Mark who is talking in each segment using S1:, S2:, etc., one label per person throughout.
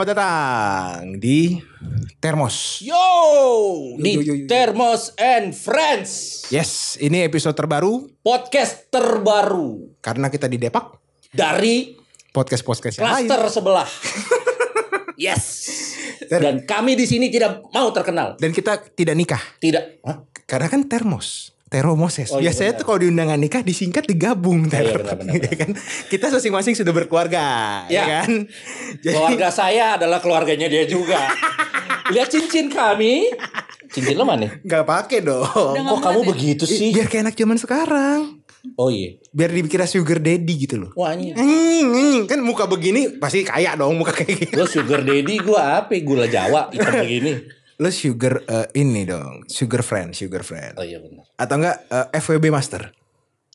S1: Selamat datang di Termos.
S2: Yo, nih
S1: yo, yo, yo.
S2: Thermos and Friends
S1: Yes, ini episode terbaru
S2: podcast terbaru
S1: karena kita di Depak.
S2: dari
S1: Podcast podcast yang lain.
S2: klaster sebelah. yes.
S1: Ter-
S2: Dan kami di sini tidak mau terkenal.
S1: Dan kita tidak nikah
S2: Tidak. Hah?
S1: karena kan Termos. Teromoses.
S2: Oh, iya,
S1: Biasanya
S2: benar.
S1: tuh kalau di undangan nikah disingkat digabung ter.
S2: iya, benar, benar,
S1: ya kan? Kita masing-masing sudah berkeluarga, ya,
S2: Ya.
S1: kan? Jadi
S2: Keluarga saya adalah keluarganya dia juga. Lihat cincin kami. Cincin lo mana?
S1: nggak pakai dong.
S2: Kok kamu begitu
S1: Bi-
S2: sih?
S1: Biar kayak anak zaman sekarang.
S2: Oh iya.
S1: Biar dikira sugar daddy gitu loh.
S2: Wah iya. ini.
S1: Hmm, hmm. kan muka begini pasti kaya dong muka kayak gitu.
S2: Gue sugar daddy, gue apa? Gula Jawa, hitam begini.
S1: Lo sugar eh, ini dong, sugar friend, sugar friend.
S2: Oh iya benar.
S1: Atau enggak eh, FWB master.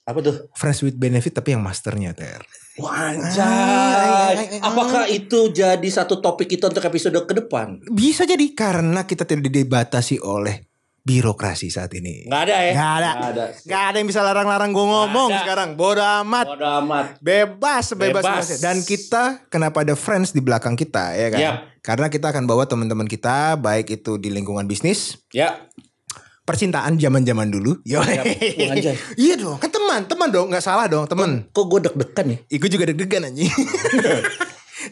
S2: Apa tuh?
S1: Friends with benefit tapi yang masternya ter. Ay, ay, ay, ay.
S2: Wanjay. Apakah itu jadi satu topik kita untuk episode ke depan?
S1: Bisa jadi karena kita tidak dibatasi oleh birokrasi saat ini.
S2: Nggak ada ya?
S1: Nggak ada.
S2: Nggak ada.
S1: Nggak ada yang bisa larang-larang gue ngomong
S2: Nggak ada.
S1: sekarang. Bodo amat.
S2: Bodo amat.
S1: Bebas, bebas,
S2: Bebas.
S1: bebas. Dan kita kenapa ada friends di belakang kita ya kan?
S2: Yap.
S1: Karena kita akan bawa teman-teman kita baik itu di lingkungan bisnis,
S2: Ya.
S1: percintaan zaman-zaman dulu. Yo.
S2: Wah, anjay.
S1: iya dong, kan teman, teman dong, nggak salah dong, teman.
S2: Kok gue deg-degan ya?
S1: Ih, Gue juga deg-degan anjing.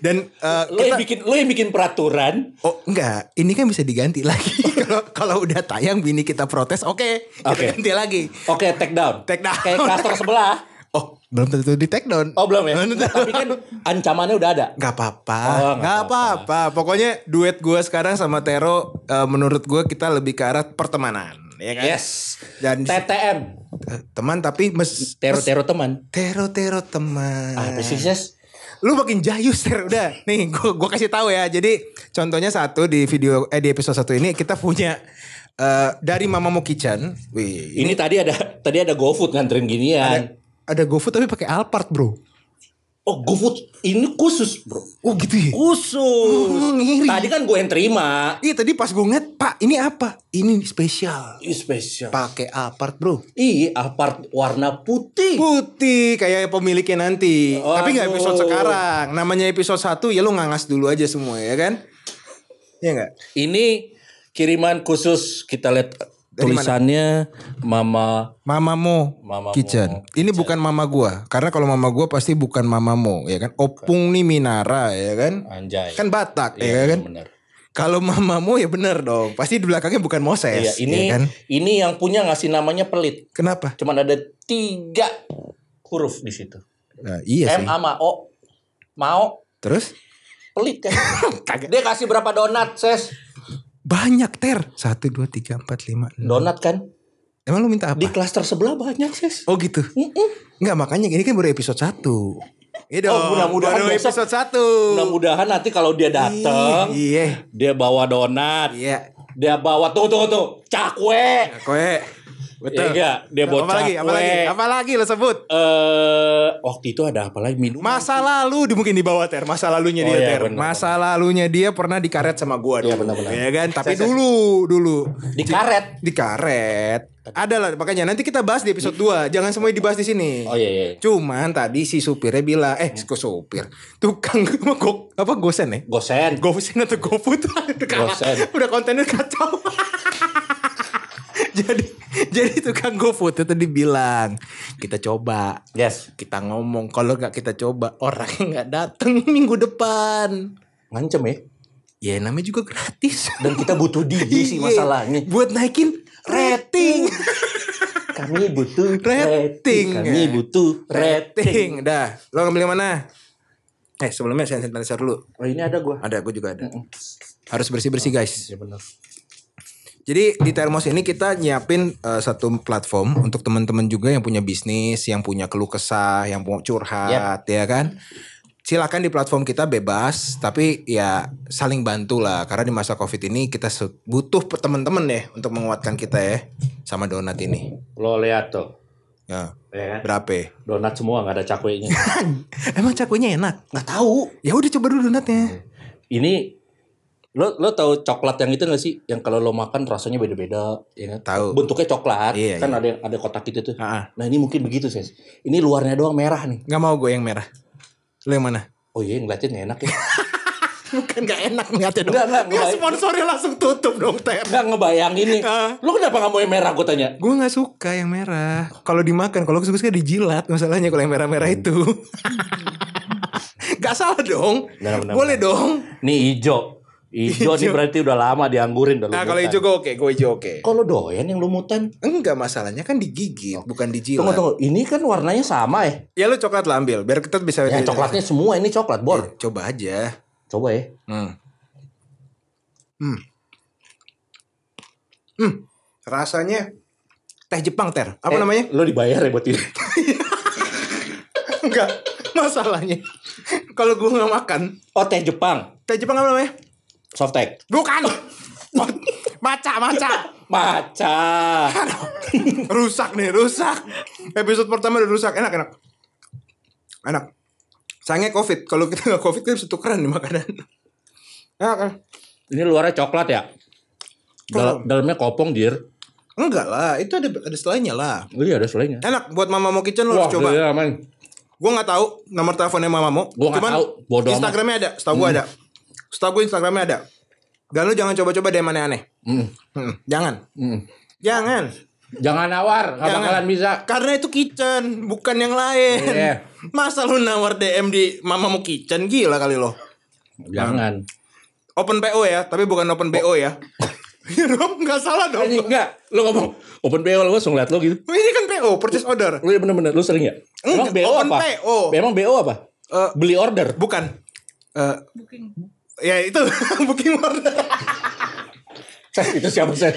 S1: Dan eh,
S2: Lo yang bikin lo yang bikin peraturan.
S1: Oh enggak, ini kan bisa diganti lagi. Kalau kalau udah tayang bini kita protes, oke, kita
S2: Oke.
S1: ganti lagi.
S2: Oke, take down.
S1: Take down.
S2: Kayak kastor sebelah.
S1: Oh, belum tentu di take down.
S2: Oh belum ya?
S1: tentu.
S2: Tapi kan ancamannya udah ada.
S1: Gak apa-apa,
S2: Oh,
S1: gak
S2: nggak
S1: apa-apa. Pokoknya duet gue sekarang sama Tero, eh, menurut gue kita lebih ke arah pertemanan, ya kan?
S2: Yes.
S1: Dan
S2: TTM.
S1: eh, teman tapi mes, mes-
S2: Tero-tero teman.
S1: Tero Tero teman.
S2: Ah, pesisnya-
S1: lu makin jayus ter udah nih gua gua kasih tahu ya jadi contohnya satu di video eh di episode satu ini kita punya eh, dari Mamamoo Kitchen wih ini
S2: Ini tadi ada tadi ada GoFood
S1: ada,
S2: nganterin ginian.
S1: ada GoFood tapi pakai Alphard bro
S2: Oh, GoFood ini khusus, Bro.
S1: oh gitu ya
S2: Khusus.
S1: Oh, ngiri.
S2: Tadi kan gue yang terima.
S1: iya tadi pas gue ngeliat pak ini apa ini spesial
S2: Ih, spesial.
S1: pakai Alphard bro
S2: Ih, apart warna putih.
S1: putih kayak pemiliknya nanti
S2: Waduh.
S1: tapi nggak episode sekarang namanya episode satu ya lu ngangas dulu aja semua ya kan Iya nggak
S2: Ini kiriman khusus kita lihat tulisannya Mama
S1: Mamamu
S2: Mamamoo
S1: Kitchen. Ini bukan mama gua karena kalau mama gua pasti bukan mamamu ya kan. Opung nih Minara ya kan.
S2: Anjay.
S1: Kan Batak
S2: Iya,
S1: ya kan.
S2: benar.
S1: Kalau mamamu ya bener dong. Pasti di belakangnya bukan Moses
S2: Iya, ini
S1: ya kan.
S2: ini yang punya ngasih namanya pelit.
S1: Kenapa?
S2: Cuman ada tiga huruf di situ.
S1: Nah, iya sih.
S2: M A M A O. Mau
S1: Terus
S2: pelit kan. Dia kasih berapa donat, Ses?
S1: banyak ter. Satu dua tiga empat lima. enam.
S2: Donat kan.
S1: Emang lu minta
S2: Di
S1: apa?
S2: klaster sebelah banyak, Ses.
S1: Oh gitu.
S2: Mm-mm.
S1: Enggak makanya ini kan baru episode satu. Iya dong.
S2: Oh, mudah-mudahan
S1: baru
S2: besok-
S1: episode satu.
S2: Mudah-mudahan nanti kalau dia datang,
S1: Iya.
S2: dia bawa donat,
S1: Iya.
S2: dia bawa tuh tuh tuh cakwe.
S1: Koe.
S2: Iya
S1: Eh, Betul.
S2: enggak? Dia bocah.
S1: apa lagi? Apa lagi?
S2: kue.
S1: Apa lagi lo sebut?
S2: Eh, waktu itu ada apa lagi minum?
S1: Masa lalu di- mungkin di bawah ter, masa lalunya
S2: Oh,
S1: dia
S2: iya,
S1: ter.
S2: benar,
S1: masa lalunya dia pernah dikaret sama gua dulu.
S2: Iya, benar-benar.
S1: Ya kan? Tapi
S2: Saya- saya-
S1: dulu, dulu
S2: di karet.
S1: dikaret. Ada lah makanya nanti kita bahas di episode 2. Jangan semuanya dibahas di sini.
S2: Oh iya iya.
S1: Cuman tadi si supirnya bilang, eh kok supir, tukang go, apa gosen ya?
S2: Gosen.
S1: Gosen atau GoFood
S2: Gosen.
S1: Udah kontennya kacau Jadi jadi tukang GoFood itu tadi bilang Kita coba
S2: Yes.
S1: kita ngomong kalau nggak kita coba orang yang nggak datang minggu depan
S2: Ngancem ya.
S1: ya namanya juga gratis
S2: Dan kita butuh dia sih
S1: Iya.
S2: masalahnya.
S1: buat naikin rating
S2: Kami butuh
S1: Rating.
S2: Kami butuh rating.
S1: rating dah lo ngambil yang mana eh sebelumnya saya sanitizer dulu
S2: Oh ini ada gua.
S1: ada gue juga ada harus bersih bersih guys
S2: Ya benar.
S1: Jadi di Termos ini kita nyiapin eh, satu platform untuk teman-teman juga yang punya bisnis, yang punya keluh kesah, yang mau curhat, ya kan? Silakan di platform kita bebas, tapi ya saling bantu lah. Karena di masa COVID ini kita se- butuh pe- teman-teman ya untuk menguatkan kita ya sama donat ini.
S2: Lo lihat tuh.
S1: Ya,
S2: Ya kan?
S1: berapa? ya?
S2: Donat semua nggak ada cakwenya.
S1: Emang cakunya enak.
S2: Nggak tahu.
S1: Ya udah coba dulu donatnya.
S2: Ini lo lo tahu coklat yang itu nggak sih? Yang kalau lo makan rasanya beda-beda, ya kan?
S1: Tahu.
S2: Bentuknya coklat,
S1: Iya,
S2: kan ada ada kotak itu tuh.
S1: Ah, ah.
S2: Nah ini mungkin begitu sih. Ini luarnya doang merah nih.
S1: Nggak mau gue yang merah. Lo yang mana?
S2: Oh iya ngeliatin nggak enak ya.
S1: kan gak enak ngeliatnya dong.
S2: Enggak, enggak,
S1: Nggak,
S2: ngebayang.
S1: sponsornya langsung tutup dong Ter.
S2: Nggak ngebayangin nih.
S1: Ah.
S2: Lu kenapa nggak mau yang merah gue tanya?
S1: Gue gak suka yang merah. Kalau dimakan, kalau gue suka dijilat masalahnya kalau yang merah-merah
S2: Hmm.
S1: itu. gak salah dong.
S2: Benar, benar,
S1: Boleh dong.
S2: Nih hijau. Hijau nih
S1: Ijo.
S2: berarti udah lama dianggurin dah lu
S1: Nah kalau
S2: mutan.
S1: hijau gue oke, gue hijau oke.
S2: Kalau doyan yang lumutan.
S1: Enggak masalahnya kan digigit, bukan dijilat.
S2: Tunggu tunggu, ini kan warnanya sama ya.
S1: Ya lu coklat lah ambil, biar kita bisa.
S2: Ya coklatnya semua ini coklat bor.
S1: Coba aja.
S2: Coba ya.
S1: Hmm. Hmm. Rasanya teh Jepang ter. Apa
S2: Eh,
S1: namanya?
S2: Lo dibayar ya buat ini.
S1: Enggak. Masalahnya kalau gue nggak makan
S2: Oh teh Jepang,
S1: teh Jepang apa namanya?
S2: softtek.
S1: Bukan. maca maca.
S2: Maca.
S1: rusak nih rusak. Episode pertama udah rusak. Enak enak. Enak. Sayangnya covid. Kalau kita nggak covid kita bisa tukeran nih makanan. Enak, enak.
S2: Ini luarnya coklat ya? Dal-
S1: Kopong.
S2: dalamnya kopong dir.
S1: Enggak lah, itu ada ada selainya lah.
S2: Oh, Iya ada selainya.
S1: Enak buat Mama Mo Kitchen lo
S2: Wah, iya,
S1: harus coba.
S2: gila, man.
S1: Gue nggak tahu nomor teleponnya Mama Mo.
S2: Gua nggak tahu, bodo amat. Hmm.
S1: Instagramnya ada, setahu gue ada. Setahu gue Instagramnya ada. Dan lu jangan coba-coba DM aneh-aneh.
S2: Mm,
S1: Hmm, jangan.
S2: mm.
S1: Jangan.
S2: Jangan nawar, nggak
S1: Jangan.
S2: bakalan bisa.
S1: Karena itu kitchen, bukan yang lain.
S2: Iya.
S1: Masa lu nawar DM di Mama Mo Kitchen gila kali lo.
S2: Jangan.
S1: Open PO ya, tapi bukan open BO ya. Iya dong, nggak salah dong.
S2: Anjing enggak, lu ngomong open BO lu langsung ngeliat lu gitu.
S1: Ini kan PO, purchase order.
S2: Lu bener-bener lu sering ya? Emang
S1: Enggak,
S2: BO
S1: open
S2: apa?
S1: PO.
S2: Emang BO apa?
S1: Eh,
S2: Beli order.
S1: Bukan. Eh Ya itu booking order.
S2: Ses itu siapa ses?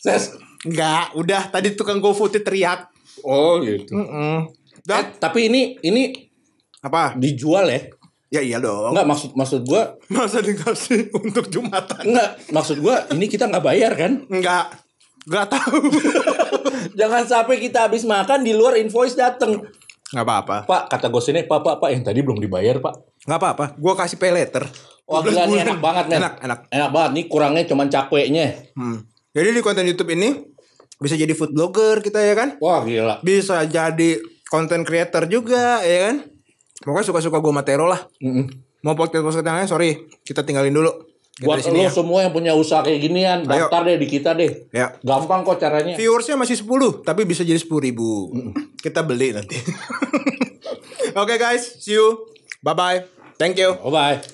S2: Ses.
S1: Enggak, udah tadi tukang GoFood teriak.
S2: Oh gitu.
S1: Mm-mm.
S2: Eh,
S1: Dah.
S2: tapi ini ini
S1: Apa?
S2: dijual ya?
S1: Ya iya dong.
S2: Enggak maksud maksud gua
S1: Masa dikasih untuk Jumatan?
S2: enggak maksud gua ini kita nggak bayar kan?
S1: Enggak. Enggak tahu.
S2: Jangan sampai kita habis makan di luar invoice dateng.
S1: Enggak apa-apa.
S2: Pak kata gue sini Pak Pak Pak yang tadi belum dibayar Pak.
S1: Enggak apa-apa. Gua kasih pay letter.
S2: Wah
S1: 12
S2: gila nih
S1: bulan.
S2: enak banget men.
S1: Enak, enak.
S2: Enak banget nih kurangnya cuman cakweknya.
S1: Hmm. Jadi di konten YouTube ini bisa jadi food blogger kita ya kan?
S2: Wah gila.
S1: Bisa jadi konten creator juga ya kan? Pokoknya suka-suka gua matero lah.
S2: Mm-mm.
S1: Mau podcast podcast yang lain, sorry, kita tinggalin dulu. Kita
S2: Buat
S1: di sini ya.
S2: lo semua yang punya usaha kayak ginian,
S1: Ayo.
S2: daftar deh di kita deh.
S1: Ya.
S2: Gampang kok caranya.
S1: Viewersnya masih 10 tapi bisa jadi 10 ribu. Kita beli nanti. Oke guys, see you. Bye bye. Thank you.
S2: Oh, Bye bye.